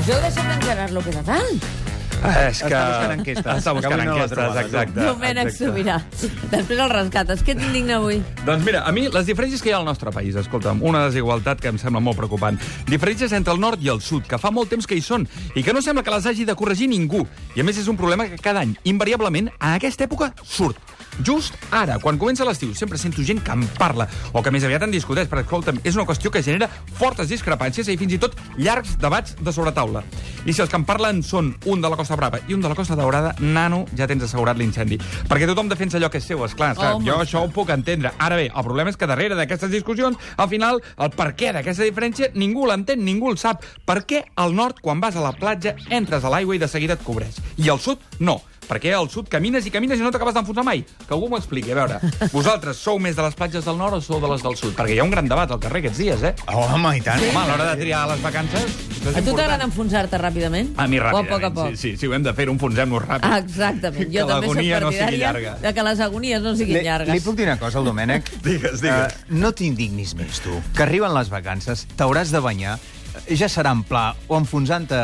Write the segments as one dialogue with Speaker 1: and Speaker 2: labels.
Speaker 1: Us heu deixat encarar lo que de dalt?
Speaker 2: Ah, és que...
Speaker 3: Està buscant enquestes.
Speaker 2: Està buscant
Speaker 3: Que avui no la
Speaker 2: enquestes,
Speaker 3: trobes,
Speaker 2: exacte.
Speaker 1: Domènec
Speaker 2: exacte.
Speaker 1: Sobirà. Després el rescates. Què t'indigna avui?
Speaker 2: Doncs mira, a mi les diferències que hi ha al nostre país, escolta'm, una desigualtat que em sembla molt preocupant. Diferències entre el nord i el sud, que fa molt temps que hi són, i que no sembla que les hagi de corregir ningú. I a més és un problema que cada any, invariablement, a aquesta època surt. Just ara, quan comença l'estiu, sempre sento gent que en parla, o que més aviat en discuteix, perquè, escolta'm, és una qüestió que genera fortes discrepàncies i fins i tot llargs debats de sobretaula. I si els que en parlen són un de la Costa Brava i un de la Costa Daurada, nano, ja tens assegurat l'incendi. Perquè tothom defensa allò que és seu, esclar, esclar
Speaker 1: Home.
Speaker 2: jo això ho puc entendre. Ara bé, el problema és que darrere d'aquestes discussions, al final, el per què d'aquesta diferència ningú l'entén, ningú el sap. Per què al nord, quan vas a la platja, entres a l'aigua i de seguida et cobreix? I al sud, no. Per què al sud camines i camines i no t'acabes d'enfonsar mai? Que algú m'ho expliqui. A veure, vosaltres sou més de les platges del nord o sou de les del sud? Perquè hi ha un gran debat al carrer aquests dies, eh?
Speaker 3: Oh, home, i tant.
Speaker 2: Home, a l'hora de triar les vacances... això és
Speaker 1: A tu
Speaker 2: important.
Speaker 1: t'agrada enfonsar-te ràpidament?
Speaker 2: A mi
Speaker 1: O a
Speaker 2: ràpidament,
Speaker 1: poc a poc? Ah,
Speaker 2: sí, sí. Si ho hem de fer, enfonsem-nos ràpid.
Speaker 1: Exactament. Jo
Speaker 2: que
Speaker 1: també soc
Speaker 2: l'agonia no sigui
Speaker 1: partidària
Speaker 2: llarga.
Speaker 1: de que les agonies no siguin
Speaker 3: Li,
Speaker 1: llargues.
Speaker 3: li puc dir una cosa al Domènec?
Speaker 2: Digues, digues.
Speaker 3: Eh, no t'indignis més, tu. Que arriben les vacances, t'hauràs de banyar, eh, ja serà en pla o enfonsant-te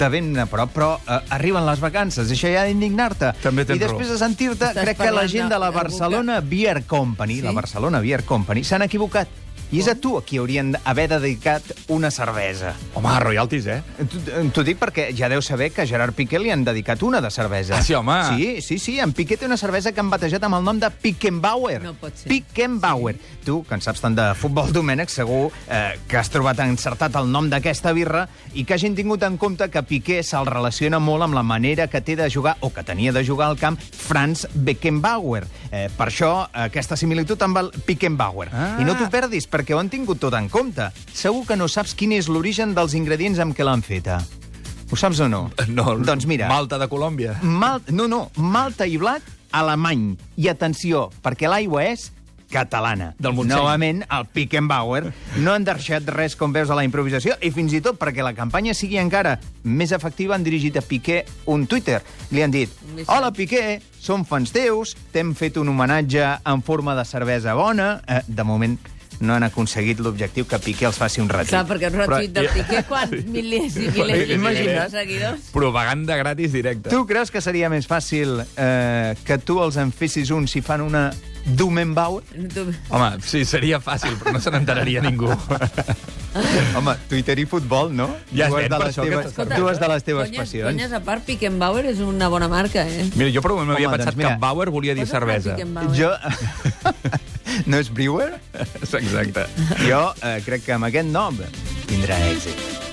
Speaker 3: de ben a prop, però eh, arriben les vacances, això ja ha d'indignar-te.
Speaker 2: També tens
Speaker 3: I després
Speaker 2: raó.
Speaker 3: de sentir-te,
Speaker 1: Estàs
Speaker 3: crec que la
Speaker 1: parlant
Speaker 3: gent
Speaker 1: de-
Speaker 3: de la
Speaker 1: d'algú que-
Speaker 3: Barcelona Beer Company,
Speaker 1: Sí?
Speaker 3: la Barcelona Beer Company, s'han equivocat. I és a tu a qui haurien d'haver dedicat una cervesa.
Speaker 2: Home, royalties, eh?
Speaker 3: T'ho- T'ho dic perquè ja deu saber que a Gerard Piqué li han dedicat una de cervesa.
Speaker 2: Ah, sí, home.
Speaker 3: Sí, sí, sí. En Piqué té una cervesa que han batejat amb el nom de Pickenbauer.
Speaker 1: No pot ser.
Speaker 3: Pickenbauer. Tu, que en saps tant de futbol, Domènec, segur eh, que has trobat encertat el nom d'aquesta birra i que hagin tingut en compte que Piqué se'l relaciona molt amb la manera que té de jugar o que tenia de jugar al camp Franz Beckenbauer. Eh, per això, aquesta similitud amb el Pickenbauer.
Speaker 2: Ah.
Speaker 3: I no t'ho perdis, perquè ho han tingut tot en compte. Segur que no saps quin és l'origen dels ingredients amb què l'han feta. Ho saps o no?
Speaker 2: No,
Speaker 3: Doncs mira,
Speaker 2: Malta de Colòmbia.
Speaker 3: mal... no, no, Malta i blat, alemany. I atenció, perquè l'aigua és catalana.
Speaker 2: Del Montseny.
Speaker 3: Novament, el Pickenbauer no han deixat res com veus a la improvisació i fins i tot perquè la campanya sigui encara més efectiva han dirigit a Piqué un Twitter. Li han dit,
Speaker 1: Un missatge.
Speaker 3: hola Piqué, som fans teus, t'hem fet un homenatge en forma de cervesa bona. Eh, de moment no han aconseguit l'objectiu que Piqué els faci un retweet.
Speaker 1: Clar, perquè un retuit del
Speaker 2: Però-
Speaker 1: Piqué, quants milers i milers i milers de seguidors?
Speaker 2: Propaganda gratis directa.
Speaker 3: Tu creus que seria més fàcil eh, que tu els en fessis un si fan una Dumenbauer?
Speaker 1: Tu-
Speaker 2: Home, sí, seria fàcil, però no se n'enteraria ningú.
Speaker 3: Home, Twitter i futbol, no?
Speaker 2: Ja
Speaker 3: dues,
Speaker 2: estem
Speaker 3: de
Speaker 2: per
Speaker 3: les
Speaker 2: això que
Speaker 3: teves,
Speaker 2: t'estàs-
Speaker 3: dues de les teves
Speaker 1: conyes,
Speaker 3: passions.
Speaker 1: Conyes a part, Pickenbauer és una bona marca, eh?
Speaker 2: Mira, jo per un moment m'havia
Speaker 3: Home,
Speaker 2: pensat
Speaker 3: doncs mira.
Speaker 2: que Bauer volia dir
Speaker 1: Posa't una
Speaker 2: cervesa.
Speaker 1: Pickenbauer.
Speaker 3: Jo... no és Brewer?
Speaker 2: Exacte.
Speaker 3: Jo eh, crec que amb aquest nom tindrà èxit.